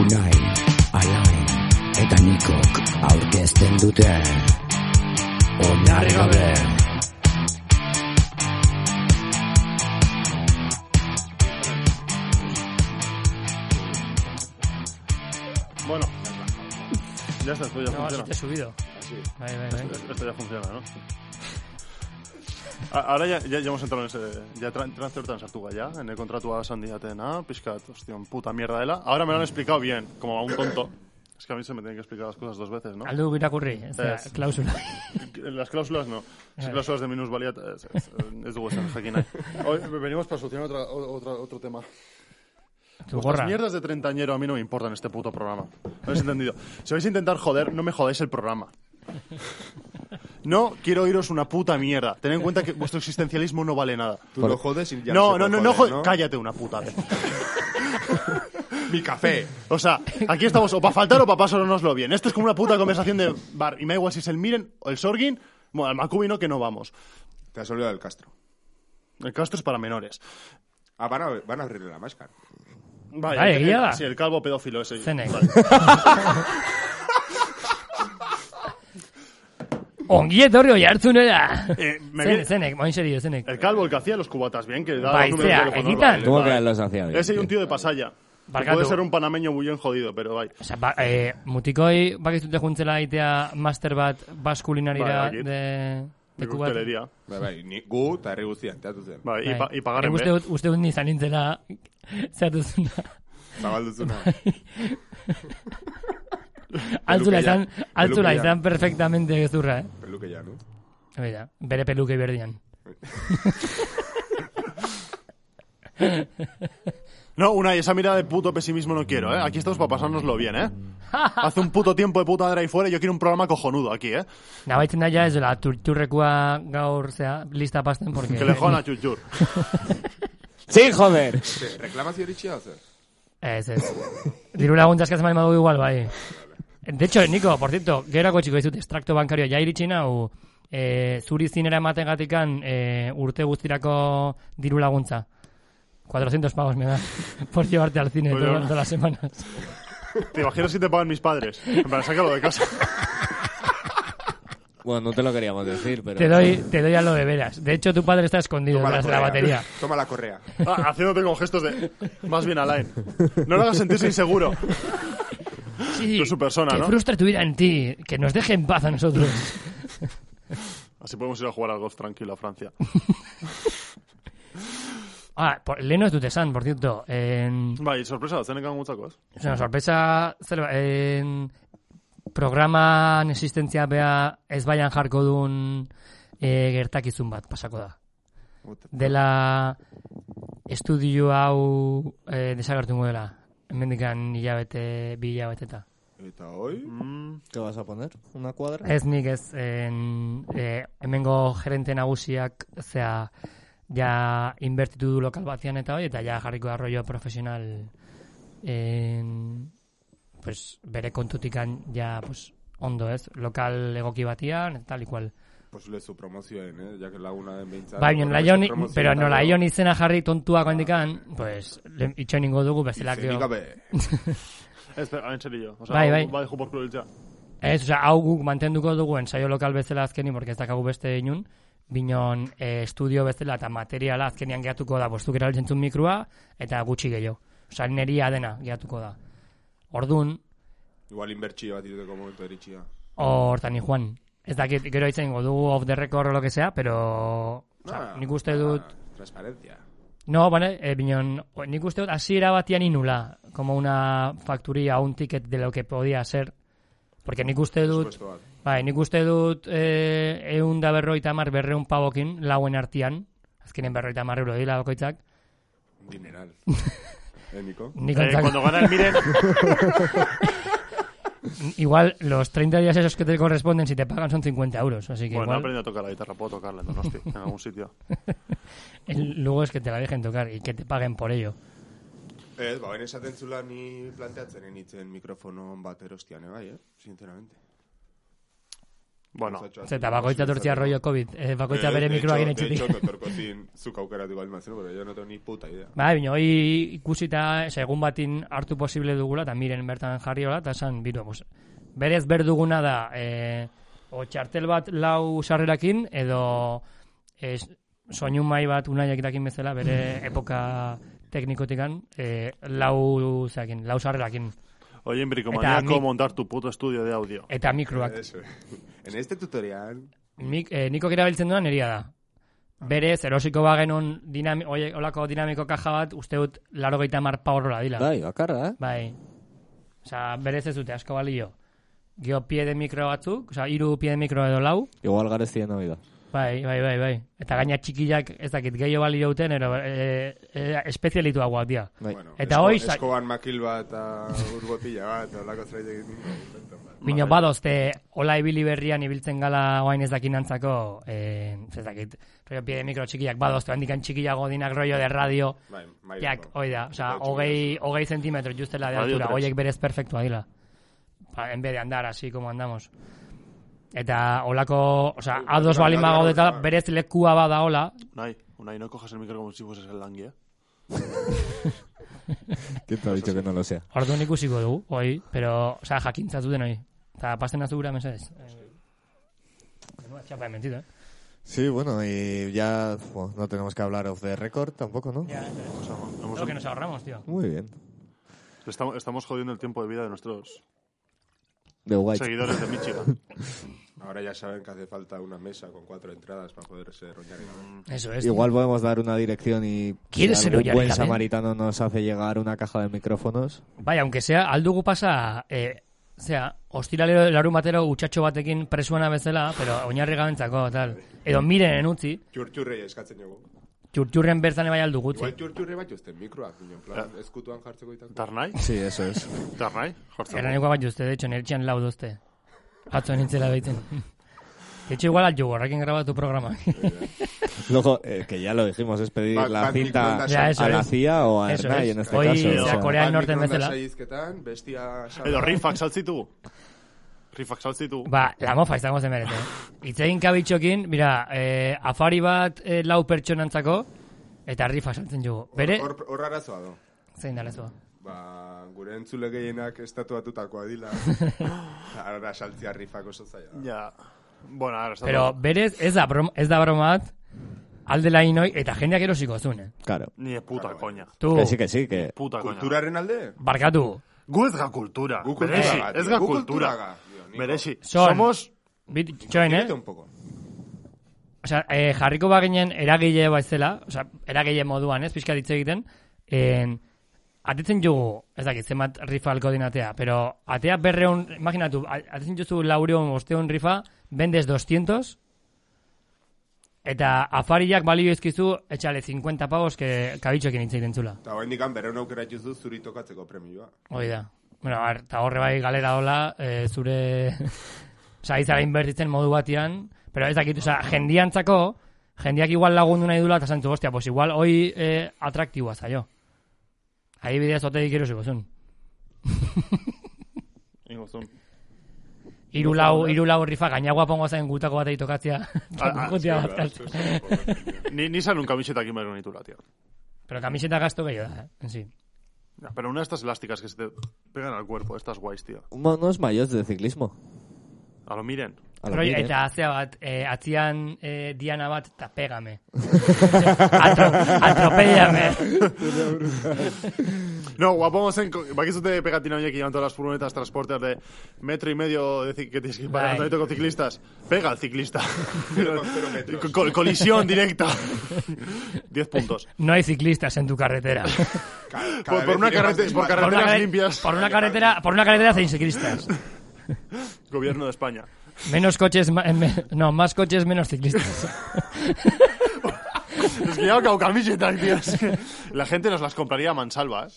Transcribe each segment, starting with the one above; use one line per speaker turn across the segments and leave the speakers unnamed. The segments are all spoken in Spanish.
Unai, Alain eta Nikok aurkezten dute Oinarri gabe
Bueno, ya está, esto ya
No, si
funciona.
te he subido. Bai, bai, bai.
Esto, esto ya funciona, ¿no? A- Ahora ya, ya, ya hemos entrado en ese... Ya tra- transfer tan sartuga ya, en el contrato a Sandy Atena, piscat, hostia, puta mierda de la. Ahora me lo han explicado bien, como a un tonto. Es que a mí se me tienen que explicar las cosas dos veces, ¿no?
Aldo guk irakurri, ez da,
Ez.
klausula.
Las cláusulas no. Las
Vale.
cláusulas de minusvalía eh, es, es, es de vuestra jaquina. Hoy venimos para solucionar otra, o- otra- otro tema.
Tu gorra.
Las mierdas de treintañero a mí no me importan en este puto programa. ¿No habéis entendido? Si vais a intentar joder, no me jodáis el programa. No quiero oíros una puta mierda. Tened en cuenta que vuestro existencialismo no vale nada.
Tú lo jodes y ya
e- no, no,
no, se
no, no,
puede joder,
jod- cállate una puta vez.
Mi café.
O sea, aquí estamos o para faltar o para pasárnoslo bien. Esto es como una puta conversación de bar. Y me da igual si es el Miren o el Sorgin, bueno, al Macubi no, que no vamos.
Te has olvidado del Castro.
El Castro es para menores.
Ah, van a, van a abrirle la máscara.
Vale,
Vale,
el-
egia da.
Sí, el calvo pedófilo ese.
Zenek.
Vale.
Ongi etorri oi hartzunera!
Eh, me
Zenek,
viene- Eh.
zenek, moin serio, zenek.
El calvo, el que hacía los cubatas, bien, que daba
Bai,
los números
zea,
de teléfono,
egitan.
vale,
¿Cómo
vale.
que los hacía bien?
Ese y un tío de pasalla. que
Barkatu.
Puede ser un panameño muy bien jodido, pero bai.
Osa, ba, eh, mutikoi bakizute juntzela egitea master bat baskulinarira
Bai, dakit.
de...
De
Leku bat.
coctelería.
Bai, bai, ni, gu eta herri guztian, teatu zen.
Bai, y,
Bai.
pa, y pagar
Nik
en
Uste
B.
dut, uste dut nizan nintzela zehatuzuna.
Zabalduzuna.
Altzula
Pelukeia.
izan, altzula
Pelukeia.
izan perfectamente gezurra, eh?
Peluke ja, no?
Hori da, bere peluke berdian.
No, una, y esa mirada de puto pesimismo no quiero, ¿eh? Aquí estamos para pasárnoslo bien, ¿eh? Hace un puto tiempo de puta madre ahí fuera y yo quiero un programa cojonudo aquí, ¿eh?
Nabaitzen da ja ez dela turturrekoa gaur zea, lista pasten, porque...
Que le jodan a Chuchur.
Sí, joder
Ze, Reklamazio hori txia zer?
Ez, ez. Diru laguntza eskatzen bali badu igual, bai. De hecho, Niko, por cierto, gerako txiko dizut extracto bankario ja iritsi nau e, zuri zinera ematen gatikan e, urte guztirako diru laguntza. 400 pavos me da por llevarte al cine
Pues
todo-
bueno.
todas las semanas.
¿Te imaginas si te pagan mis padres? En plan, sácalo de casa.
Bueno, no te lo queríamos decir, pero...
Te doy, te doy a lo de veras. De hecho, tu padre está escondido
Toma la
detrás de la
correa.
batería.
Toma la correa.
Ah, haciéndote con gestos de... Más bien Alain. No lo hagas sentirse inseguro.
Sí,
Tú es su persona,
que
¿no?
frustre tu vida en ti, que nos deje en paz a nosotros.
Así podemos ir a jugar al golf tranquilo a Francia.
Ah, por, leheno ez dut esan, por cierto. En,
Bai, sorpresa, zenekan gutzakoz.
Es una sorpresa, zer, ba, en, programan existentzia bea ez baian jarko duen e, gertakizun bat pasako da. Dela estudio hau e, desagertungo dela. Hemendikan hilabete, bi hilabeteta.
Eta hoi?
¿Qué vas a poner? ¿Una cuadra?
Ez nik ez, en, e, hemengo gerente nagusiak zea ja inbertitu du lokal batean eta hori, eta ja jarriko da rollo profesional en, pues, bere kontutikan ja pues, ondo ez, lokal egoki batian, eta tal igual.
Pues lezu promozioen, eh? Jak laguna den behintzat.
Bai, nola ion,
Promozioen
pero
eta
nola
gero-
ion izena jarri tontuak handikan, pues, le- itxoin ingo dugu bezala.
Izenik gabe.
Ez, pero, hain Este, serio. O sea,
Bai, bai.
Bai, jupor klubitza.
Ez, osea, hau guk mantenduko dugu ensaio lokal bezala azkenin, porque ez dakagu beste inun, binon eh, estudio bezala eta materiala azkenean gehatuko da, bostuk erabiltzen zuen mikroa, eta gutxi gehiago. Osa, neria dena gehatuko da. Ordun,
Igual inbertsio bat iduteko momentu eritxia.
hortan ni joan. Ez dakit, gero hitz egingo dugu off the record o lo que sea, pero... Osa,
Ah,
nik uste
ah,
dut...
Transparencia.
No, bale, e, binon, o- nik uste dut hasiera batian inula, como una facturía, un ticket de lo que podía ser. Porque nik uste dut...
Puesto bat.
Bai, nik uste dut eh, eun da berroita mar berreun pavokin, lauen artian, azkenen berroita mar euro dila bakoitzak,
Dineral. eh, Niko?
nik
Eh,
ontzak,
cuando gana el Miren...
igual los 30 días esos que te corresponden si te pagan son 50 euros, así que
Bueno, he
igual
aprendido a tocar la guitarra, puedo tocarla en Donosti, en algún sitio.
el- luego es que te la dejen tocar y que te paguen por ello.
Ez, ba, ben esaten zula ni planteatzen enitzen mikrofonon bat erostian, eh, bai, eh? Sinceramente.
Bueno,
Zeta, ba, bakoitza tortzia rollo COVID. Eh, bakoitza bere
mikroa
mikroa
gine
gine
De
txutik.
hecho, totorkozin zuk aukeratu igual mazenu, pero yo no tengo ni puta idea.
Ba, bino, hoi ikusita, esa, egun batin hartu posible dugula, eta miren bertan jarri hola, eta esan, biro, pues, berez berduguna da, e, o txartel bat lau sarrerakin, edo es, soinu mai bat unaiak dakin bezala, bere epoka teknikotikan, e, lau, zakin, lau sarrerakin,
oye, en bricomanía,
Eta mi-
¿cómo montar tu puto estudio de audio?
eta mikroak.
Eso. En este tutorial...
Mik, e, nikok erabiltzen duan eria da. Berez, erosiko bagenon dinami, oie, olako dinamiko kaja bat, uste dut laro gaita mar paurrola dila.
Bai, bakarra, eh?
Bai. Osa, berez ez dute asko balio. Gio pie de mikro batzuk, osa, iru pie de mikro edo lau.
Igual garezien hori da.
Bai, bai, bai, bai. Eta gaina txikilak ez dakit gehiago balio duten, ero, e, e, espezialitua guak dia.
Bai.
Bueno,
Eta
esko-
hoi sa-
Eskoban makil bat, eta urbotilla bat, eta lako zerbait egin nintzen, bat.
Bino badozte, hola ibili berrian ibiltzen gala oain ez dakin antzako, eh, ez dakit, rollo pie de mikro txikiak badozte, handikan txikiago dinak rollo de radio,
Bai, mairu.
Jak, hoi da, oza,
Eta
hogei, hogei zentimetro justela de
Radio
altura,
tres.
hoiek berez perfektua dila. Pa, en vez de andar así como andamos. Eta holako, oza,
Bai,
ados
bai,
balin
bai,
bagaud
bai,
eta
bai.
berez lekua bada hola,
Unai, Unai, no cojas el micro como si fueses el eh. languía.
¿Quién te ha dicho que no lo sea?
orduan ikusiko dugu, hoi, pero, oza, jakintza zuten hoi. Eta pasten azu gura, mesedez. Eh, Txapa de mentito, eh?
Sí, bueno, y ya bueno, no tenemos que hablar off the record tampoco, ¿no?
O sea, hemos-
Lo que nos ahorramos, tío.
Muy bien.
estamos, estamos jodiendo el tiempo de vida de nuestros
De guay.
seguidores de Michigan.
Ahora ya saben que hace falta una mesa con cuatro entradas para poderse roñar. en-
Eso es. tío.
Igual podemos dar una dirección y
¿Quieres
si
ser
algún buen
Ollarica, eh?
samaritano nos hace llegar una caja de micrófonos.
Bai, aunque sea, aldugu pasa, eh, zera, ostiralero larun batero utxatxo batekin presuana bezala, pero oinarri gabentzako, tal. Edo miren utzi,
Txurtxurrei eskatzen dugu. Bai,
txurtxurren bertan ebai aldugu utzi.
Igual txurtxurre bat jozten mikroak, dino, en plan, eskutuan jartzeko itako.
¿Tarnai?
Sí, eso es.
¿Tarnai? Jorge.
Erraneko bat juzte, de hecho, nertxean lau dozte. Atzo nintzela behitzen. De hecho, igual aldugu, horrekin grabatu programa.
Luego, eh, que ya lo dijimos, es pedir
Ba-
la
bat
cinta
microondas
Ya,
a
eso
la
es.
CIA o a
Eso
Ernai
es.
en este
Hoy
caso.
se
o sea,
acordó- Korean
Bat
Norten
mikroondas
bezala.
saizketan, bestia... salda.
Edo rifak saltzi dugu. Rifak saltzi dugu.
ba, la mofa izango zen berez, eh? Itzegin kabitxokin, mira, eh, afari bat eh, lau pertsonantzako, eta rifa saltzen dugu. Bere,
Hor- Hor arazoa do.
zein da lezua.
Ba, gure entzule gehienak estatu batutakoa dila. Ara saltzia rifak oso zaila. da.
Ja. Bueno, ahora está
Pero
todo.
berez, ez da, broma, ez da bromat, aldela inoi, eta jendeak erosiko zuen, eh?
Claro.
Ni de puta coña.
Tu,
Que sí, que sí, que...
Puta coña.
Kulturaren alde?
barkatu,
Gu ez ga kultura.
Gu kultura
Beresi,
ga, tío.
ez ga
Gu kultura
kultura.
ga, tío, Nico.
Beresi,
Son.
somos...
bit, txoen, eh?
Quédate un poco.
O sea, eh, jarriko baginen eragile baizela, o sea, eragile moduan, ez, pixka ditze egiten, en, atetzen jugu, ez dakit, zenbat rifa alko din atea, pero atea berreun, imaginatu, a- atetzen juzu laureun, osteun rifa, bendes 200, eta afariak balio izkizu, etxale 50 pavos, que kabitxoekin hitz egiten zula.
Eta horrein dikan beren aukera juzu zuri tokatzeko premioa.
Hoi da. Bueno, a ver, eta horre bai galera hola, eh, zure... Osa, izara inbertitzen modu batian, pero ez dakit, osa, jendiantzako, jendiak igual lagundu nahi dula, eta santu, hostia, pues igual hoi eh, atraktiua zaio. Adibidez, otedik erosiko zuen.
Ingozun.
Hiru lau, hiru lau rifa, gaina guapongo zen gutako batei tokatzea.
Ah, ah,
Gutia
Ba,
bat
zu-
kaltzea.
zu- poco.
Ni, ni salun kamisetakin behar nitula, tío.
Pero kamiseta gasto gehiago da, eh? en sí.
Ya, pero una de estas elásticas que se te pegan al cuerpo, estas guays, tío.
Monos mayores de ciclismo.
A lo miren.
A lo
Roi,
mejor, ¿eh?
eta azea bat, eh, atzian eh, diana bat, eta pegame. Atro, atropellame.
No, guapomos en... Bakizute pegatina horiek llevan todas las furgonetas transportes de metro y medio de ci- que tienes que ir para
Ay.
con ciclistas. Pega al ciclista.
Cero con cero metros.
Col- colisión directa. Diez puntos.
No hay ciclistas en tu carretera.
Ca- cada
Por- por
vez
una
iré más
carrete-
despacio.
por carre- Carreteras
care-
limpias.
Por una carretera, por una carretera sin ciclistas.
Gobierno de España.
Menos coches, ma- eh, me- no, más coches, menos ciclistas.
Es que ya cao camisetas, tío. Es que la gente nos las compraría a mansalva, ¿eh?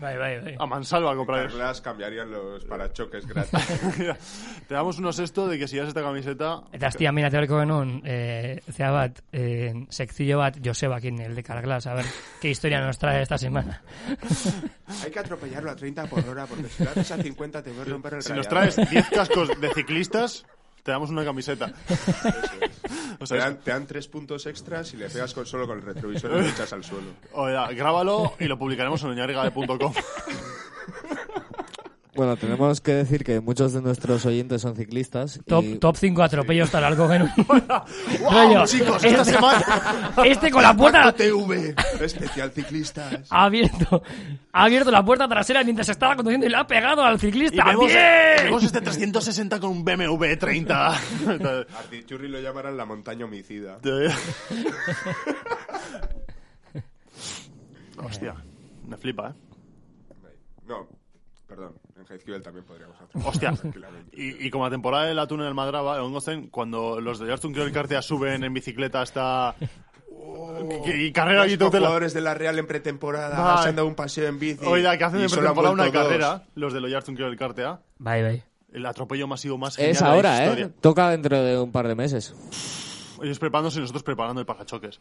Bai, bai, bai.
A mansalva compraría.
Carlas cambiarían los parachoques gratis.
Mira, Te damos unos esto de que si das esta camiseta...
Eta aztia, mira, teoreko genuen, eh, zea bat, eh, sekzio bat, Josebakin, el de Carglass, a ver, qué historia nos trae esta semana.
Hay que atropellarlo a 30 por hora porque si lo haces a 50 te voy a romper el
Si nos
radiador.
traes 10 cascos de ciclistas, te te damos una camiseta. O
Te
sea, es-
dan, te dan tres puntos extras y le pegas con, solo con el retrovisor y lo echas al suelo.
o sea, grábalo y lo publicaremos en oñarregade.com.
Bueno, tenemos que decir que muchos de nuestros oyentes son ciclistas.
Top,
Eh,
y
top 5 atropellos tal algo genuen. Rollo,
chicos, esta
este-
semana-
Este con la puerta
TV, especial ciclistas.
ha abierto, ha abierto la puerta trasera mientras estaba conduciendo y le ha pegado al ciclista.
Y vemos,
¡Bien!
vemos este 360 con un BMW 30.
Artichurri lo llamarán la montaña homicida.
Hostia, me flipa, ¿eh?
No, perdón, en Jaizkibel también podríamos hacer.
Hostia.
Tranquilamente.
Y, y como la temporada del atún en el Madraba, en Ongozen, cuando los de Jartun Kartea suben en bicicleta hasta...
Oh.
y, y carrera
Los
aquí tutela.
jugadores de la Real en pretemporada
Vale.
se han dado un paseo en bici.
Oiga, que hacen
y
en
solo han
pretemporada una
vuelto dos.
carrera, los de los Jartun Kartea.
Bai, bai.
El atropello masivo más genial
Es
de la
ahora,
historia.
¿eh? Toca dentro de un par de meses.
Ellos preparándose y nosotros preparando el pasachoques.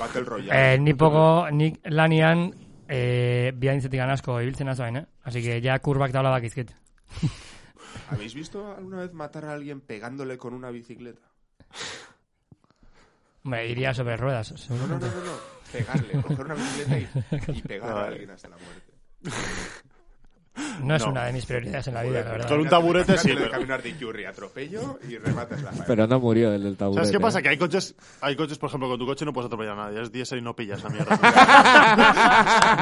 Battle Royale.
Eh, ni poco, nik lanian eh, biaintzetik asko ibiltzen azoain, eh? Así que ya kurbak taula bakizkit.
¿Habéis visto alguna vez matar a alguien pegándole con una bicicleta?
Me iría sobre ruedas.
No, no,
seguramente.
no, no. no. Pegarle, coger una bicicleta y, y pegar a alguien hasta la muerte.
No es
No.
una de mis prioridades en la vida, la
Con
verdad.
un taburete, sí,
Imagínate lo de
pero-
caminar de Iturri, atropello y rematas la faena.
Pero no murió el del taburete.
¿Sabes qué pasa?
¿eh?
Que hay coches, hay coches, por ejemplo, con tu coche no puedes atropellar a nadie. Es 10 y no pillas esa mierda.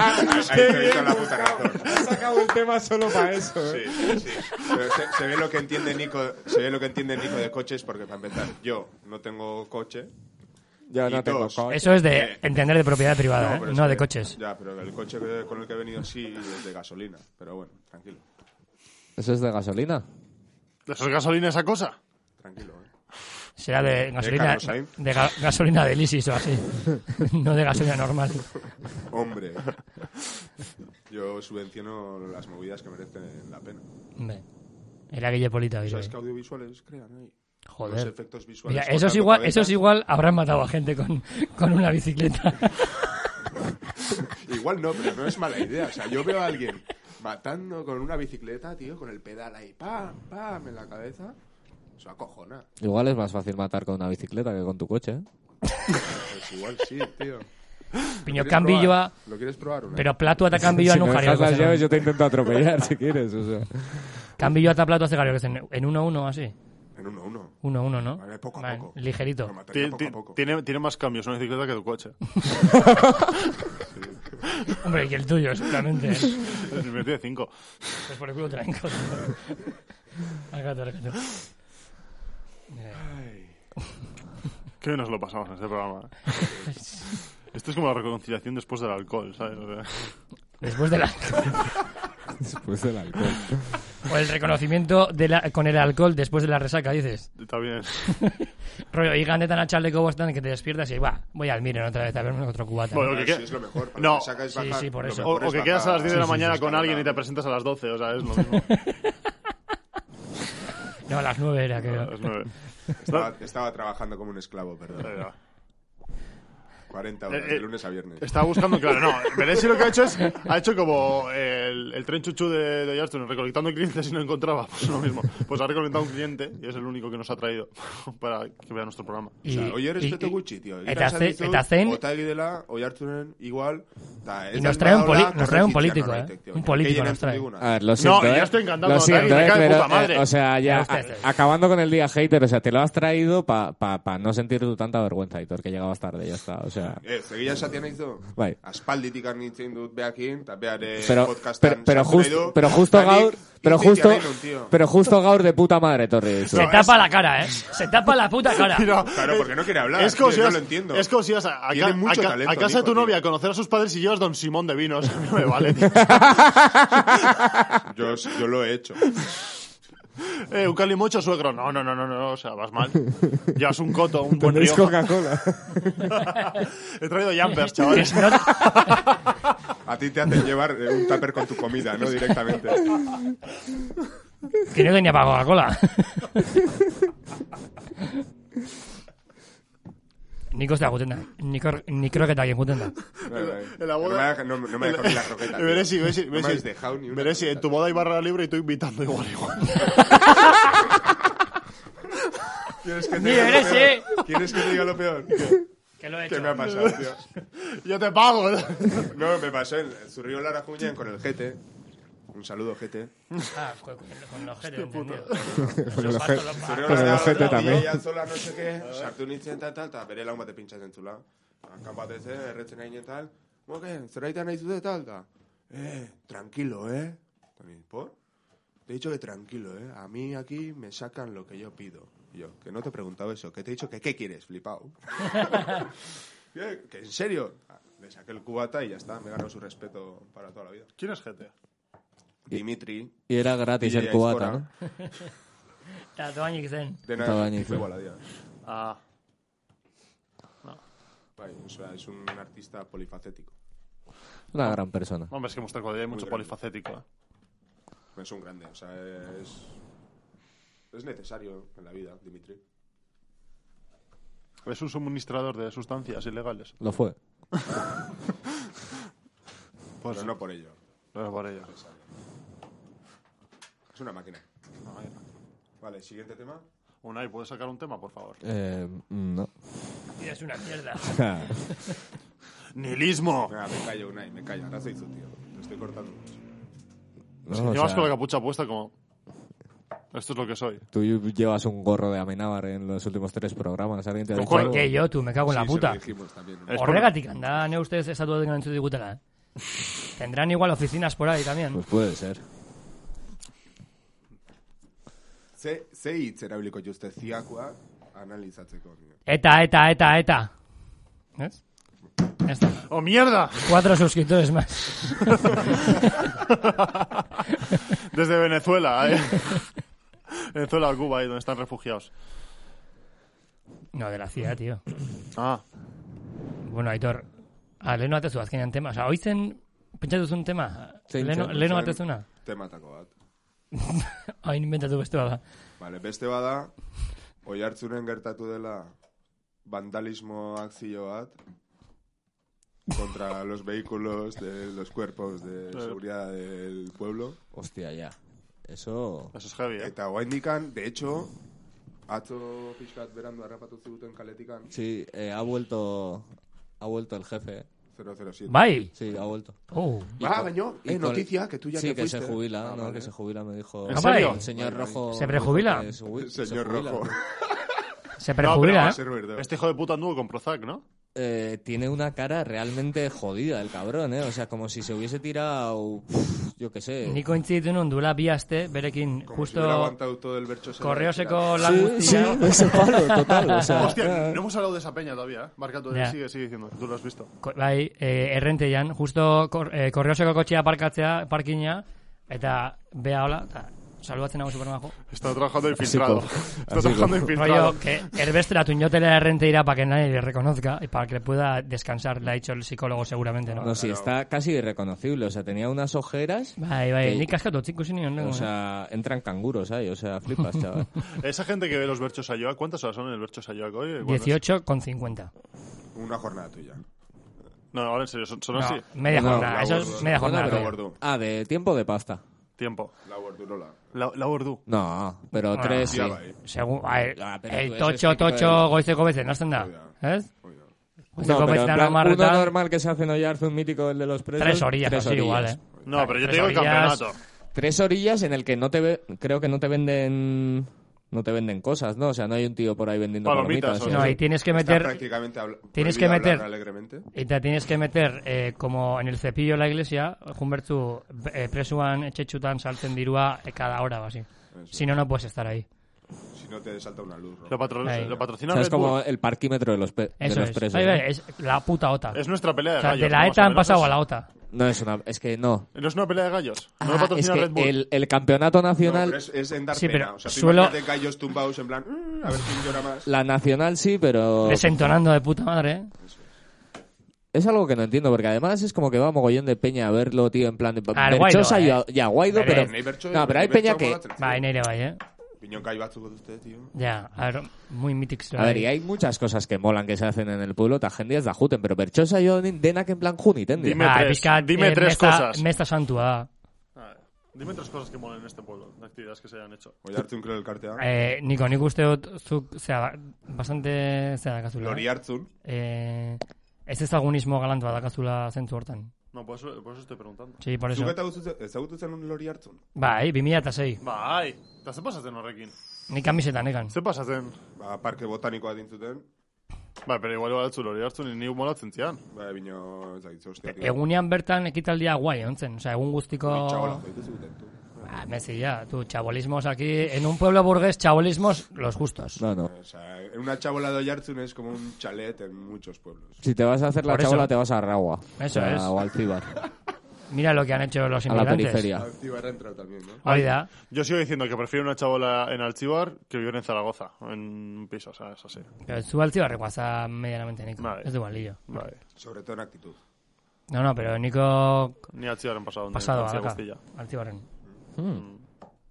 Ahí te he dicho la puta razón.
Has sacado el tema solo para eso.
Sí,
¿eh?
sí. Pero se, se ve lo que entiende Nico, se ve lo que entiende Nico de coches porque para empezar, yo no tengo coche.
¿Eh?
Yo
Y
no tengo
todos.
coche.
Eso es de
Eh,
entender de propiedad privada,
pero
¿eh?
es
No
que-
de coches.
Ya, pero el coche que- con el que he venido sí es de gasolina, pero bueno, tranquilo,
Eso es de gasolina.
¿Eso es gasolina esa cosa?
tranquilo. eh.
Será de gasolina
Carlos Sainz.
de, ga- gasolina de lisis o así. No de gasolina normal.
Hombre. Yo subvenciono las movidas que merecen la pena.
Hombre. Eragile polita, bai,
¿Sabes
bai.
que audiovisuales crean ahí? Los
Joder.
efectos visuales.
Mira, eso es
cortando
igual, eso es
cabezas.
igual habrán matado a gente con, con una bicicleta.
Igual no, pero no es mala idea. O sea, yo veo a alguien matando con una bicicleta, tío, con el pedal ahí, pam, pam, en la cabeza. Eso acojona.
Igual es más fácil matar con una bicicleta que con tu coche. ¿eh?
Pues igual sí,
Piño
tío. ¿Lo quieres
canbilloa,
probar? ¿Lo quieres probar o no?
pero platua eta canbilloa
si
nun
me
jarriko
dejas las
zen.
llaves, yo te intento atropellar si quieres. O sea.
Canbilloa eta platua ze jarriko zen. En 1-1, así.
En uno a uno.
1-1, ¿no?
Vale, poco a
Vale,
poco.
Ligerito.
Lo mataría
Ti-
poco
ti-
a poco.
Tiene, tiene más cambios una bicicleta que tu coche.
Hombre, y el tuyo, seguramente. ¿eh?
Me tiene 5.
Pues por el culo traen cosas. Al gato, al gato. Eh,
Qué bien nos lo pasamos en este programa. ¿eh? Esto es como la reconciliación después del alcohol, ¿sabes? O sea,
Después de la...
Después del alcohol.
O el reconocimiento de la- con el alcohol después de la resaca, dices.
Está bien.
Rollo, y ganetan a Charlie Cobostan que te despiertas y va, voy al Miren otra vez a verme otro cubata.
Bueno,
Ah,
que-
sí, es lo mejor. Para
No.
que sacas
Sí,
bajar,
sí, por
lo
eso.
O,
mejor
o
es
que quedas a
bajar-
las 10 de la mañana con
escalonar.
alguien y te presentas a las 12, o sea, es lo mismo.
No, a las nueve era, creo.
Es nueve.
Estaba, estaba trabajando como un esclavo, perdón.
Venga.
40 horas,
Eh, eh,
de lunes a viernes.
Este-
Estaba buscando, claro, no. Veresi lo que ha hecho es. Ha hecho como el, el tren chuchu de, de Yardstone, recolectando clientes y no encontraba. Pues lo mismo. Pues ha recolectado un cliente y es el único que nos ha traído para que vea nuestro programa.
Y,
Oye, oye,
y-
respeto
y-
gutxi, tío.
Eta, ze, eta zen,
Otagi dela, oiartzunen, igual. ta, ez
Y
da
nos trae un
albadola,
poli- nos trae un
korrekitzea
político,
norbaitek,
eh.
tío.
Un político
Gehien
nos
entzun
trae.
diguna.
A ver, lo siento,
yo
¿eh?
estoy encantado,
Lo
David,
siento,
me
¿eh?
cae de
Pero,
puta
eh,
madre.
o sea, ya,
Ya está, ya está.
a- acabando con el día hater, o sea, te lo has traído para pa, pa no sentir tu tanta vergüenza, Hitor, que llegabas tarde, ya está, o sea...
Ez, egia esatean nahi du.
Bai.
Aspalditik nintzen dut beakin, eta beare
Pero,
podcastan
pero, pero,
sartu nahi
just-
du.
pero justo
Eta nik
Gaur, pero
hitz
justo,
egiten genuen, tío.
pero justo Gaur de puta madre, Torres.
se tapa la cara, ¿eh? Se tapa la puta cara.
Mira,
Claro, porque no quiere hablar,
Es como
tío,
si
yo
vas-
lo entiendo.
Es como si vas a, a
Tiene
ca-
mucho
a ca-
talento,
a casa de tu
Nico,
novia
tío.
a conocer a sus padres y llevas Don Simón de vinos. A mí no me vale, tío.
Yo, yo lo he hecho.
Eh, un calimocho suegro. No, no, no, no, no, o sea, vas mal. Llevas un coto, un buen
Tenéis
rioja.
Coca-Cola.
He traído jumpers, chavales.
A ti te hacen llevar eh, un tupper con tu comida, ¿no? Directamente.
Que no tenía para Coca-Cola. Niko ez da guten da. Niko, nikroketak egiten da.
Bai, bai.
En la boda-
No me deja- No, no me dejas ni la croqueta. tío.
Veresi, Veresi,
No me
Veresi.
has dejado ni una
Veresi, en
croqueta.
tu boda hay barra libre y tú invitando igual, igual.
¿Quieres que te
Ni
diga lo
eres,
peor? ¿Quieres que te diga lo peor? Que,
Que lo he
que
hecho.
me ha pasado, tío.
Yo te pago.
No, me pasó en el Zurrillo Lara Cuña con el Gete. Un saludo, Gete.
Ah, con, con los jetes, entendido.
Con el
Los patos, los
ojete.
patos.
Con el ojete también.
Zola, no sé qué. Sartu nintzen, tal, tal, eta bere lagun bate pintxatzen zula. Hankan bat ez, eh, erretzen hainen, tal. Moke, zeraitan nahi zute, tal, da. Eh, tranquilo, eh. Eta ni, ¿por? Te he dicho que tranquilo, eh. A mí aquí me sacan lo que yo pido. Y yo, que no te he preguntado eso, que te he dicho que qué quieres, flipao. que, que en serio. Ah, Le saqué el cubata y ya está, me ganó su respeto para toda la vida.
¿Quién es gente?
Dimitri,
Y era gratis
DJ
el cubata,
Aizkora.
¿no?
Eta doainik zen.
Dena
Eta baina
fue
izan.
igualadia.
Ah.
Bai, o sea, es un artista polifacético.
Una gran persona.
Hombre, es que hemos tocado hay mucho
grande.
polifacético. ¿eh?
Es un grande, o sea, es. Es necesario en la vida, Dimitri.
Es un suministrador de sustancias ilegales.
Lo fue.
Pues
Pero no por ello.
no es por ello.
Es una máquina.
Ay, no.
Vale, siguiente tema.
Unai, ¿puedes sacar un tema, por favor?
Eh, no.
Tira, es una mierda.
¡Nilismo!
Venga, me callo, Unai, me callo. Ahora soy tu tío. Te estoy cortando.
No, o
Llevas
sea,
con la capucha puesta como... Esto es lo que soy.
Tú llevas un gorro de Amenábar en los últimos tres programas. ¿Alguien te ha
Lo
dicho
cual-
algo?
Que yo, tú, me cago en la
Sí, se
puta.
lo dijimos también. ¿no?
Es por-
Horregatik, anda, ne ustez estatu duten entzut digutela. eh. Tendrán igual oficinas por ahí también.
Pues puede ser.
Ze, ze hitz erabiliko juzte ziakua analizatzeko. tío.
Eta, eta, eta, eta. ¿Ves? Ya está.
¡Oh, mierda!
Cuatro suscriptores más.
Desde Venezuela, ¿eh? Venezuela o Cuba, ahí donde están refugiados.
No, de la CIA, tío.
Ah,
Bueno, Aitor, ah, leheno atezu azkenean tema. Osa, oizen, pentsatu zuen tema?
Zein
Leheno,
zen?
leheno
Zen
atezuna?
Tematako bat.
Hain inventatu bestua da.
Vale, beste bada, oi hartzunen gertatu dela vandalismo akzio bat contra los vehículos de los cuerpos de seguridad del pueblo.
Hostia, ya. Eso...
eso es heavy, ¿eh?
Eta oraindikan, de hecho, atzo pixkat berandu harrapatu ziguten kaletikan
Sí, eh, ha vuelto... Ha vuelto el jefe. eh.
007.
Bai!
Sí, ha vuelto.
Oh,
Y
Ah,
con-
baño,
y
eh,
con-
noticia, que tú ya
sí,
te
que
fuiste.
se jubila,
Ah,
¿no?
vale.
Que se jubila, me dijo.
¿En
Ah,
serio?
El señor
Vale,
rojo.
¿Se
me dijo
prejubila?
que se jubi-
Señor
se jubila.
rojo.
se
No, pero
prejubila,
va
Va
¿Ah?
a
eh?
ser ruido.
Este hijo de puta anduvo con Prozac, ¿no?
Eh, tiene una cara realmente jodida el cabrón, ¿eh? O sea, como si se hubiese tirado. pf, Yo qué sé.
Nik ointzitu nun duela bi aste, berekin,
Como si
justo
hubiera aguantado todo el bercho.
korreoseko lan
Sí, sí,
guztia.
ese palo, total. O sea,
Hostia, no hemos hablado de esa peña todavía, ¿eh? Marca, tú
Ah, Ya.
sigue, sigue diciendo. Tú lo has visto.
Ko- Bai, eh, errenteian, justo kor, eh, korreoseko kotxea parkatzea, parkina, eta bea hola, eta saludatzen nago supermajo.
Está trabajando
Así
infiltrado.
como-
Está
así
trabajando
como-
infiltrado.
Rollo, que Herbestra tuñotela errenteira para que nadie le reconozca y para que le pueda descansar, le ha dicho el psicólogo seguramente, ¿no?
no, sí, está casi irreconocible. O sea, tenía unas ojeras.
Bai, bai,
Que-
nik askatu txinko zinion,
O sea, entran canguros ahí. O sea, flipas, chaval.
Esa gente que ve los Berchos Ayoa, ¿cuántas horas son en el Berchos Ayoa hoy? ¿Cuándo es?
18 con 50.
Una jornada tuya.
No, ahora en serio, son, son
No,
así.
media
No,
jornada,
la
eso
gordo.
es media
No, no,
jornada.
pero
todavía.
gordo.
Ah, de tiempo de pasta.
Tiempo.
La gordurola.
La, la Ordu.
No, pero
Ah,
tres sí.
Ya eh. bai.
Segun, a ver,
Ah, pero
el
tú, eso es
tocho,
típico de-
tocho goizeko bezen, hasten da,
Oida.
ez?
Oida.
No,
Goizeko
pero en
bezetan
plan, uno
amarretan,
normal que se hace en Oyarzun mítico, el de los presos.
tres orillas, así igual, eh.
No, pero yo te
Tres
digo el
orillas.
campeonato.
Tres orillas en el que no te ve- creo que no te venden no te venden cosas, ¿no? O sea, no hay un tío por ahí vendiendo
Palomitas,
palomitas.
o
¿eh?
No, ahí tienes que
Está
meter...
prácticamente habla-
tienes
prohibido
que
hablar
meter-
alegremente.
Eta tienes que meter, eh, como en el cepillo de la iglesia, Humbertu, eh, presuan etxetxutan saltzen dirua eh, cada hora o así. Si no, no puedes estar ahí.
Si no te salta una luz. roja.
Lo, patro-
Ahí.
lo
O
patrocina
sea, es
Red Bull.
como el parquímetro de los, pe- de
Eso
los
es.
presos.
Ahí
¿no?
ve, es la puta OTA.
Es nuestra pelea de
o sea,
gallos.
de la
¿no?
ETA
Más o
han
menos.
pasado a la OTA.
No es una es que no.
No es una pelea de gallos. No lo
Ah, es
patrocina
que
Red Bull.
el, el campeonato
No,
nacional
pero es, es en dar
Sí,
pena.
pero
o sea, tú
suelo-
imagínate gallos tumbados en plan, "Mm, a ver quién llora más.
la nacional sí, pero
Desentonando de puta madre, ¿eh?
es algo que no entiendo porque además es como que va mogollón de peña a verlo, tío, en plan de
Al Guaidó,
Berchosa y
eh.
a- y a Guaidó,
Bere,
pero
Nahi bertso-
No, pero hay
nahi
peña
bertsoago
que
batzen, tío.
Bai, nire bai, eh?
Piñón gai batzuk dut uste, tío.
Ja, a ver, muy mítics.
A ver, y hay muchas cosas que molan que se hacen en el pueblo, tajendías da juten, pero Berchosa y Onin, denak en plan juni,
eh,
Dime tres, dime tres cosas.
Mesta santua.
Dime tres cosas que molen en este pueblo, de actividades que se hayan hecho.
Oiartzun creo elkartea.
Eh, Niko, nik uste dut, zuk, zera, bastante, zera dakazula.
Lori hartzun.
Eh, ez ezagunismo galant bat dakazula zentzu hortan.
No, por eso, por eso estoy preguntando.
Sí, por eso.
Zuk eta guzu- ezagutu zenun lori hartzun.
Bai, 2006.
Bai, eta ze pasatzen horrekin?
Nik kamisetan ekan.
Ze pasatzen?
Ba, parke botanikoa dintzuten.
Bai, pero igual batzu lori hartzun ni niu molatzen zian.
Ba, bino, ez dakit,
Eh,
hostia.
Egunean bertan ekitaldia guai, ontzen. Osa, egun guztiko...
Txabola, joitu ziguten, tu.
Ah, Messi, ya, tú, chabolismos aquí. En un pueblo burgués, chabolismos los justos.
No, no.
O sea, una chabola de Oiartzun es como un chalet en muchos pueblos.
Si te vas a hacer la
Por eso.
chabola, te vas a Ragua.
Eso
o sea,
es.
O al Cibar,
Mira lo que han hecho los
a la
inmigrantes.
periferia.
Alcibar ha entrado también, ¿no?
Hori da.
Yo sigo diciendo que prefiero una chabola en Alchibar que vivir en Zaragoza, en un piso, o sea, eso sí.
Pero zu altziba recuaza medianamente, Nico.
Vale.
Es de balillo.
Vale.
Sobre todo en actitud.
No, no, pero Nico...
Ni Alchibar en pasado. ni
Pasado,
en
acá.
Zaragoza.
Altzibarren.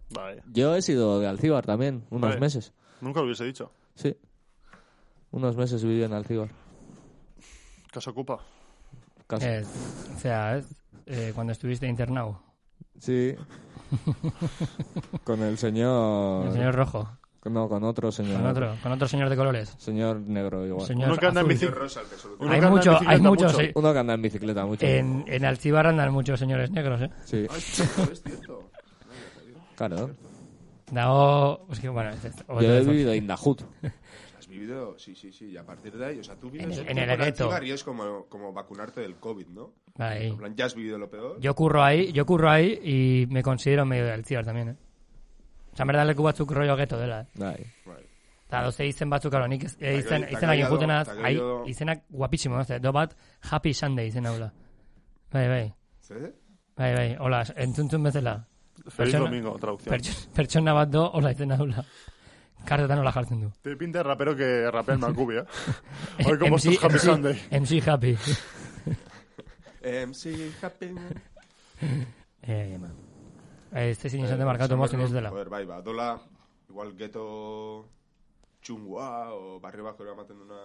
Vale.
Yo he sido de Alcíbar también, unos
Vale.
meses.
Nunca lo hubiese dicho.
Sí. Unos meses viví en Alcíbar.
¿Qué se ocupa?
Casi.
Es, o sea, es, eh, cuando estuviste internado.
Sí. con el señor...
El señor rojo.
No, con otro señor.
Con otro, con otro señor de colores.
Señor negro igual.
Señor
Uno que anda en
azul.
bicicleta.
Rosa, el que solo-
Uno
Hay
que anda
mucho-
en
hay
bicicleta
muchos,
mucho.
sí.
Uno que anda en bicicleta mucho.
En, en Altzibar andan muchos señores negros, eh?
Sí,
Es cierto.
claro.
Dago... Es que, bueno, es- es- otro
Yo he
de-
vivido en Dajut.
Has vivido, sí, sí, sí. Y a partir de ahí, o sea, tú vives
En el- en el
con
gueto.
Alcibar y es como, como vacunarte del COVID, ¿no?
Bai.
En plan, ya has vivido lo peor.
Yo curro ahí, yo curro ahí y me considero medio del tío también, eh. Osa, en verdad leku batzuk rollo geto dela, eh.
Bai.
Vale.
Eta doze izen batzuk, alo, nik iz- eh, izen,
Takai-
izenak
takaia do-
injutenaz,
takaia
ahi,
do-
izenak guapísimo, no? do bat Happy Sunday izen haula. Bai, bai,
¿Sí?
bai, bai, hola, entzuntzun bezala.
Feliz
Persona-
domingo, traducción.
Pertson- Pertsona bat do, hola izen haula. Kartetan hola jartzen du.
Te pinta de rapero que rapea en Macubi, ¿eh? Hoy como
MC,
estos Happy
MC,
Sunday.
MC Happy.
MC Em, Happy.
Eh, ma. Eh, Ez ezin izan demarkatu mozin ez dela.
Joder, bai, ba, dola, igual geto txungua, o barri bako eramaten duna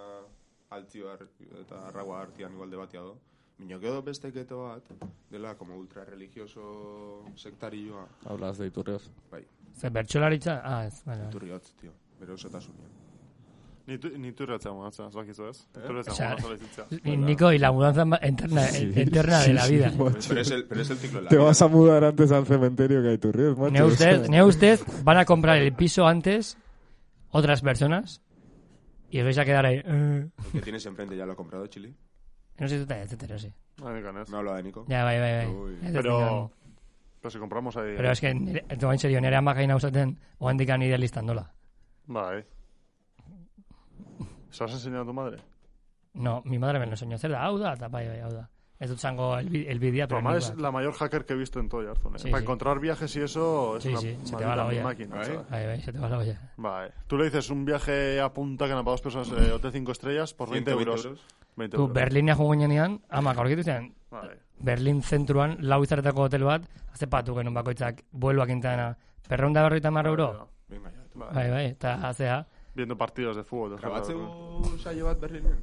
altzibar eta arraua artian igual debatia do. Mino gedo beste geto bat, dela como ultra religioso sektarioa.
Hablas de Iturreos.
Bai,
Zer, bertxolaritza? Ah, ez, bai, bai.
iturri hotz, tio, bere osotasunean.
Ni tu ni tu ratzea mugatzen, ez bakizu ez? Tu
O
ratzea
sea,
mugatzen lehizitza.
Ni- Nico, y la mudanza ma- eterna, eterna de la vida.
Pero es el, pero es el ciclo de la
Te
vida.
vas a mudar antes al cementerio que hay tu río, macho.
Ne usted, ne usted van a comprar el piso antes otras personas y os vais a quedar ahí. eh.
El que tienes enfrente ya lo ha comprado, Chile.
No sé, etcétera, etcétera, sí.
Ai, dikan ez.
No hablo de Nico.
Ya, bai, bai, bai.
Uy.
Ez ez
Pero...
dingan.
Pero si compramos eh, ahí...
Pero es que, nire- esto va en serio, nere amagain hausaten oandik idealistan dola.
Bai. eh. ¿Se lo has enseñado a tu madre?
Pues No, mi madre me lo enseñó. Zer da, hau da, eta bai, bai, hau da. Ez dut zango el, bi- el bidea,
Tu
pero
mamá
nik
es
bat.
la mayor hacker que he visto en todo Yartun, ¿eh?
Sí,
Para
sí.
encontrar viajes y eso es
Sí,
una
sí, se te
maldita
va la olla.
máquina,
Bai.
chaval.
Bai, bai, se te va la olla.
Vale. eh. Tú le dices un viaje a Punta Cana para dos personas, eh, hotel 5 estrellas, por 20
120
euros.
euros.
20
Tu
euros. eh.
Berlina jugu ginean, amak aurkitu zian,
Vale.
Berlin zentruan, lau izaretako hotel bat, azepatu genuen bakoitzak, bueluak intana, perronda berroita marra euro.
Venga, ya.
Vale.
Bai, bai, eta azea,
Viendo partidos de fútbol. de fútbol.
Grabatzeu saio bat Berlinen.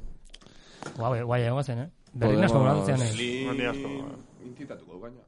Guau, guai egon zen, eh? Berlin asko
Podemos-
molatu zian, eh?
Berlin asko,
Intitatuko, gaina.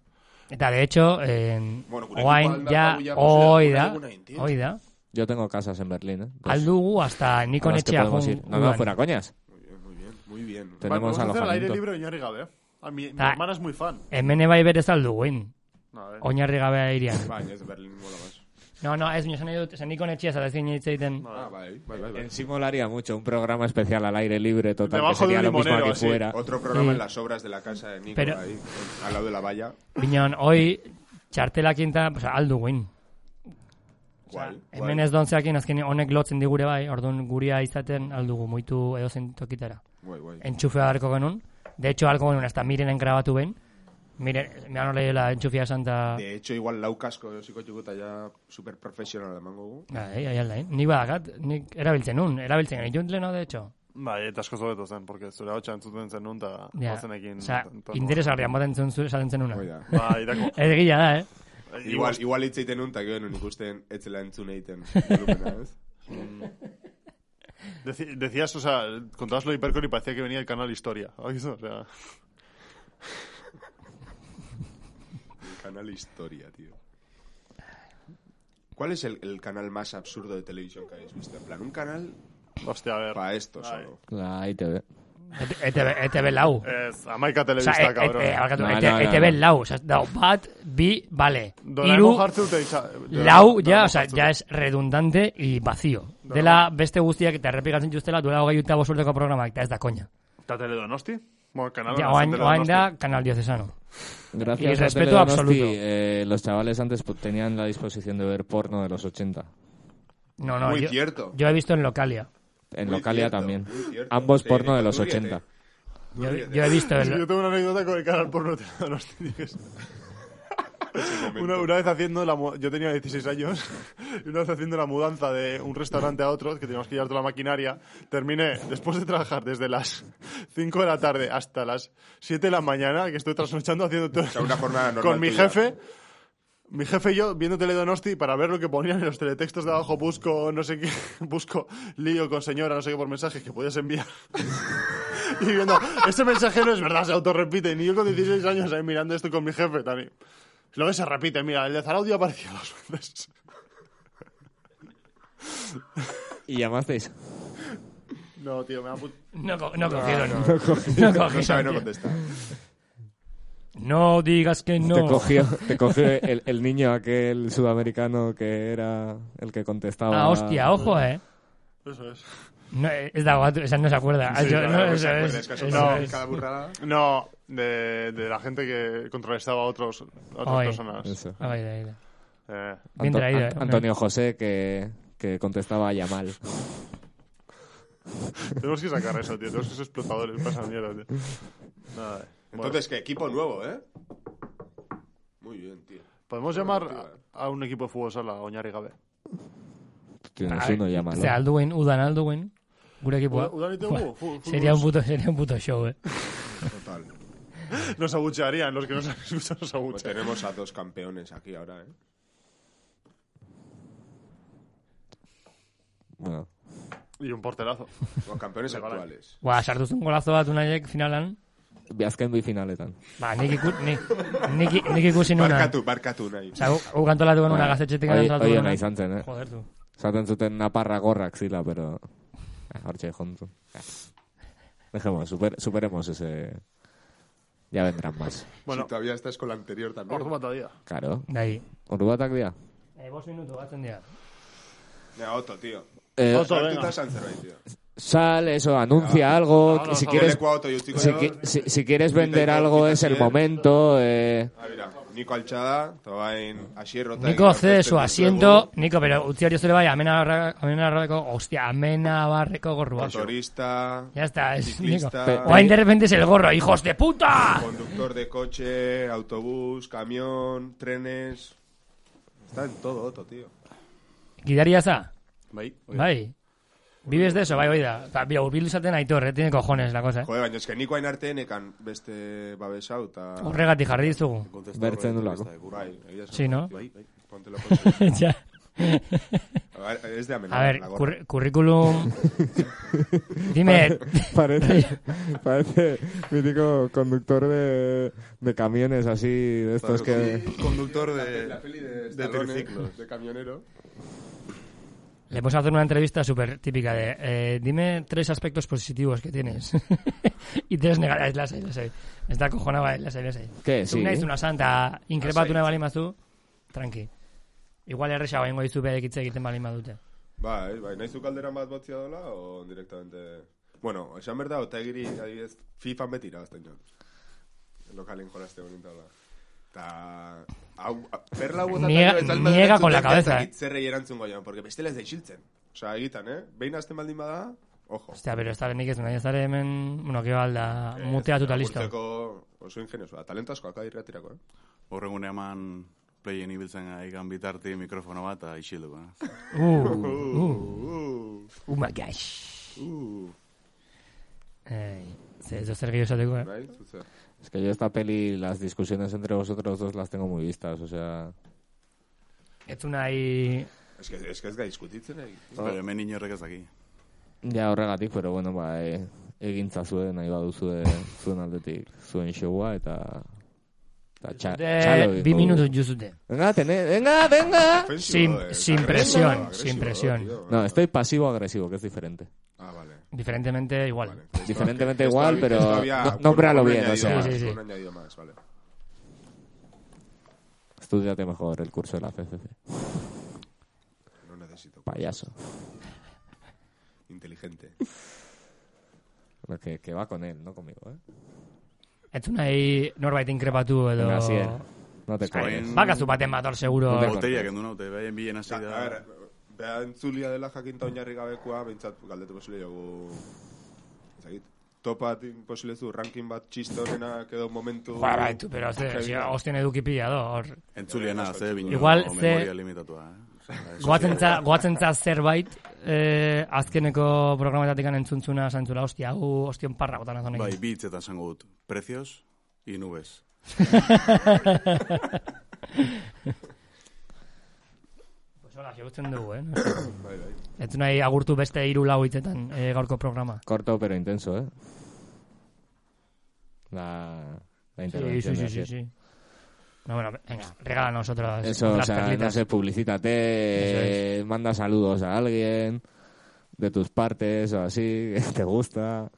Eta, de hecho, en,
Bueno, gure
oain,
ekipo
ja,
aldakagu ja,
hoi
pues,
da,
alguna intin.
hoi da,
Yo tengo casas en Berlín, ¿eh? Dos.
aldugu hasta
A
Nikon
las que
etxea
podemos ir. No, no, fuera
junguan.
coñas.
Muy bien, muy bien, muy bien.
Vale,
Tenemos
vamos a hacer al aire
alojamiento.
libre de Iñárritu Gabe, ¿eh? A mi, mi
Ah.
hermana es muy fan.
Hemen ebai berez alduguin,
No, a ver.
oinarri gabea irian.
Baina ez Berlin mola más.
No, no, ez nio, esan nahi dut, esan Nikon etxea zara ezin hitz egiten.
Ah, bai, bai, bai, bai.
En sí molaría mucho un programa especial al aire libre, total,
Debajo
que sería
de un
lo mismo
limonero,
aquí
así.
fuera.
Otro programa
Sí.
en las obras de la casa de Nico,
Pero-
ahí, al lado de la valla.
Bineon, hoi, txartelak inta, oza, alduguin.
Guai,
Hemen
guai.
ez dontzeakin azken honek lotzen digure bai, orduan guria izaten aldugu muitu edozen tokitara.
Guai, guai.
Entxufe harko genuen. De hecho, harko genuen, hasta mirenen grabatu behin. Miren, miran hori la entxufia esan da...
De hecho, igual lau kasko ziko txukuta ja super profesional emango gu.
Bai, ai aldain. Nik badakat, nik erabiltzen nun, erabiltzen genitun leno, de hecho.
Bai, eta asko zobetu zen, porque zure hau txantzuten zen nun, eta
Ja,
bazenekin...
Osa,
tontoa.
interesgarrian baten zuen zure esaten zenuna.
Oida.
Bai, eta como...
Ez gila da, eh?
Igual, igual hitz egiten nun, eta gero nun ikusten etzela entzun egiten. volumena, ez?
Deci- decías, o sea, contabas lo de Hipercore y parecía que venía el canal Historia. ¿Has visto? O sea,
Canal Historia, tío. ¿Cuál es el, el canal más absurdo de televisión que habéis visto? En plan, un canal
Hostia, a ver.
para esto
Ay.
solo.
Ahí te ve.
ETB, ETB lau.
Eh, Amaika
Osa,
Televista,
e,
cabrón.
e, e, barkatu,
No,
ET-
no, no,
ETB
no.
lau. Osa, dau, bat, bi, bale.
Doraemon
Hiru,
Hartzuk te echa- Doraemon-
lau, ja,
Doraemon
osa,
Hartzuk.
ja es redundante y vacío. Dela beste guztiak eta errepikatzen justela duela hogei urte bosurteko programak, eta ez da koña.
Eta Teledonosti? Ah, Bueno, kanal honetan
Ja, oain, oain
Teledonosti.
da, kanal diocesano.
Gracias
Y
a
respeto
Teledonosti,
absoluto.
eh, los chavales antes pu- tenían la disposición de ver porno de los 80.
No, no,
Muy
yo,
cierto.
yo he visto en Localia.
En
Muy
Localia
cierto,
también.
muy cierto.
Ambos
Sí,
porno de los
Uribe,
80.
Yo, yo he visto
Sí, Yo
el...
tengo una anécdota con el canal porno de Teledonosti. tíos. Una, una vez haciendo la mu- yo tenía 16 años y una vez haciendo la mudanza de un restaurante a otro que teníamos que llevar toda la maquinaria terminé después de trabajar desde las 5 de la tarde hasta las 7 de la mañana que estoy trasnochando haciendo todo
sea, una jornada normal
con mi
tuya.
jefe mi jefe y yo viendo Teledonosti para ver lo que ponían en los teletextos de abajo busco no sé qué busco lío con señora no sé qué por mensajes que podías enviar y viendo, este mensaje no es verdad, se autorrepite. Ni yo con 16 años ahí mirando esto con mi jefe, Tani. Lo ves, se repite, mira, el de Zaraudio aparecía dos veces.
Y llamasteis.
No, tío, me da put...
No, co- no cogieron. No,
No sabe, no
cogieron. tío.
contesta.
No digas que
Te
no.
cogió, te cogió el, el niño aquel sudamericano que era el que contestaba.
Ah, hostia, ojo, eh.
Eso es.
No, eh, ez dago, atu- esan no se acuerda. Ah, yo-
claro,
no,
no
eso es,
Es que
eso
soltaba
es.
cada burrada.
No, de, de la gente que contrarrestaba a, otros, a otras
Oye.
personas.
Eso.
Ah, bai, bai, bai.
Eh,
Bien
Anto-
traído,
Ant-
eh.
Antonio José que, que contestaba a Yamal.
tenemos que sacar eso, tío. Tenemos que ser explotadores, pasa mierda, tío. Nada, eh. Bueno,
Entonces, ¿qué? Equipo nuevo, ¿eh? Muy bien, tío.
podemos llamar a, a un equipo de fútbol sala, Oñar y Gabe.
Tienes uno, Yamal.
Ze alduin, udan alduin, gure ekipoa.
Udalite,
Buah,
uh, fu- fu-
Sería un puto, sería un puto show, eh.
Total.
Nos abuchearían, los que nos han escuchado nos
Pues
abuchearían.
tenemos a dos campeones aquí ahora, ¿eh?
Bueno,
Y un porterazo.
Los campeones
Legal.
actuales.
Ba, sartu zuen golazo bat unaiek finalan.
Biazken finaletan.
Ba, nik, iku, nik, nik, nik ikusi nuna.
Barkatu, barkatu nahi.
Osa, hau kantolatu genuna gaztetxetik kantolatu
Oie
genuen.
Bai, nahi zantzen, eh?
Joder, tú.
Zaten zuten naparra gorrak zila, pero... Eh, Hortxe, jontu. Eh. Dejemos, super, superemos ese... Ya vendrán más.
Bueno.
Si todavía estás con la anterior también.
Ordu matadía.
Claro.
Dai.
Orduatak dira?
Bai. Eh, bost minutu batzen dira.
Venga, Otto, tío.
Eh,
Otto,
Tú
venga.
estás a Zerbait, tío.
sal, eso, anuncia algo.
no,
si,
no,
quieres,
Nico a Otto, yo estoy con
si,
él.
qui- si- si quieres
Grita,
vender
grita,
algo
grita,
es el
Asier.
momento. Eh,
Ah, mira, Nico Alchada, Tobain, Asier Rota.
Nico cede
pues,
su asiento. Nico, pero utzi hori zure bai, amena barreko, hostia, amena barreko gorrua.
Motorista.
Ya está, es Nico.
Ciclista.
Pe-
Oain de repente es el gorro, hijos de puta!
Conductor de coche, autobús, camión, trenes. Está en todo, Otto, tío.
Gidaria za?
Bai.
Bai. Vives de eso, bai, oida. Ba, Mira, urbildu zaten aitor, eh, tiene cojones la cosa, eh.
Joder, baina eske Nico hain arte enekan beste babesau eta...
Horregatik jarri dizugu.
Bertzen nulako.
Bai, egia esan.
Sí, ¿no?
Bai, bai. Póntelo con-
Ja.
A ver, Es de amenaza.
A ver,
la gorra.
curr- currículum... Dime,
Parece, parece mítico conductor de, de camiones así, de estos que...
Pues Conductor de... La peli de, Stallone,
triciclos.
De camionero.
le vamos a hacer una entrevista súper típica de... eh, dime tres aspectos positivos que tienes. y tres negativos. Las hay, las hay. Está cojonada, bai, las hay, las hay.
¿Qué?
Zuk
Sí. Ah,
nahiz una santa, inkrepatu nahi balin bazu, tranqui. Igual erresa baingo dizu berek hitz egiten balin badute.
Bai, bai, nahizu kaldera bat batzia dola, o directamente... Bueno, esan berda, otegiri, adibidez, FIFA beti irabazten joan. Lokalen jolazte honen taula. Ta... Hau, a- perla hau botatzen
Niega-
joan, ez alma
niega con la
erantzuteak,
cabeza, eh.
ez dakit Zerrei erantzun goian, porque bestela ez da isiltzen. Osa, egitan, eh? Behin azten baldin bada, ojo.
Ostia, pero esta nik ez nahi ezare hemen, bueno, que balda, muteatuta listo.
Urteko oso ingeniosoa, talentasko akadirra tirako, eh?
Horrengun eman playen ibiltzen aigan bitarti mikrofono bat eta isilduko. eh?
Uh, uh, uh, my gosh.
Uh,
Ei, ze, ez zer gehiago esateko, eh?
bai, zutze.
Es que yo esta peli, las discusiones entre vosotros dos las tengo muy vistas, o sea...
Ez du nahi...
Ez que, ez que ez gai diskutitzen, eh?
Pero hemen inorrek ez daki.
Ja horregatik, pero bueno, ba, eh, e, egintza zuen, nahi baduzue zuen aldetik, zuen showa, eta Eta txa-
De- Eh,
txalo eh.
bi
egingo
minutu
dugu.
juzute.
Venga, tené, venga, venga.
Ofensivo,
Sin-
eh,
sin
agresivo,
presión,
agresivo,
sin
eh,
presión.
tío.
No, estoy pasivo-agresivo, que es diferente.
Ah, vale.
Diferentemente igual.
Diferentemente
Esto
igual,
había-
pero
esto había
no-
con-
nómbralo
con un
bien, o
añadido
sea.
más,
Sí, sí, sí.
con un añadido más, vale.
Estudiate mejor el curso de la CCC.
No necesito.
Payaso.
Inteligente.
Bueno, Que, que va con él, no conmigo, ¿eh?
Ez du nahi norbait inkrepatu edo...
Venga, Asier, No te calles.
Orain-
Bakazu baten bator seguro.
Dute-
Botella, kendu naute, behaien bilen hasi
Ja,
da.
a ber, beha entzulia dela jakinta oinarri gabekoa, bintzat galdetu posible jogu... Ezagit, topatin posilezu, ranking bat txiste honenak edo momentu...
Ba, baitu, pero ze,
Osea,
ze, hostien eduki pila do. Hor,
Entzuliena, ze bino,
Igual, ze-
memoria limitatua, eh?
Goatzentza, goatzentza zerbait, eh, azkeneko programetatik entzuntzuna zantzula, hostia, hau, ostion parra gotan azonek.
Bai, bi hitzetan esango dut. Precios y nubes.
Pues hola, gutzen dugu, eh? No sé.
Bai, bai.
Ez du nahi agurtu beste hiru lau hitzetan eh, gaurko programa.
Corto pero intenso, ¿eh? La, la
Sí,
intervención.
sí,
de
sí, sí,
Asier.
sí. No, bueno, venga, regálanos otras,
Eso, o
otras
sea, no
perlitas.
sé, publicítate, manda saludos a alguien de tus partes o así, que te gusta.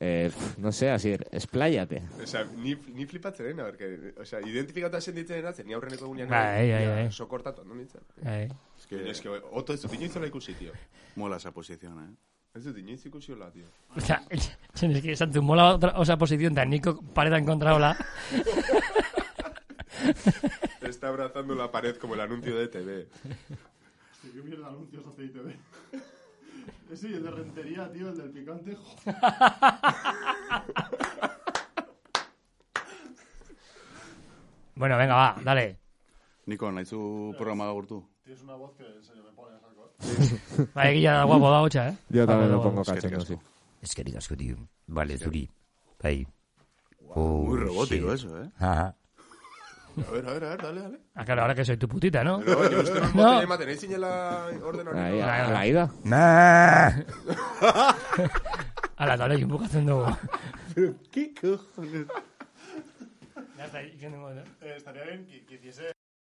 Eh, pf, no sé, así, expláyate.
Osea, ni, ni flipatzen eh, dena, berke, osea, identifikatu sentitzen dena, zen ni aurreneko gunean...
Bai, bai, bai.
Sokortatu, no nintzen.
Bai.
Es
Que...
que
Es que, oto ez dut inoiz hola ikusi, tio.
mola esa posición, eh?
Ez dut inoiz ikusi hola, tio.
O sea, es que Santu mola otra, o sea, posición de Nico pareta en contra ola.
Te está abrazando la pared como el anuncio de E TV.
¿Qué mierda de anuncios hace ITV? Ese y el de rentería, tío, el del picante. joder.
Bueno, venga, va, dale.
Niko, naizu programa gaurtu?
Tienes una voz que en serio me pone a saco. ¿eh?
Bai, egia da guapo da hotxa, eh?
Yo también me
Guapo,
pongo
guapo.
cachondo, sí.
Eskerrik asko, tío. Vale, zuri. Bai.
Muy
Oh, shit. Ah,
robótico eso, eh?
Aha.
A ver, a ver, a ver, dale, dale.
Ah, claro, ahora que soy tu putita, ¿no?
Pero, oye, uste non
No.
bote ematen, ez zinela orden hori.
Ahí,
Claro.
a- Aida.
Na!
Ala, eta horrekin bukatzen dugu.
¿Qué cojones?
Ya está, ikenduko, ¿no?
Eh, estaría bien que, que hiciese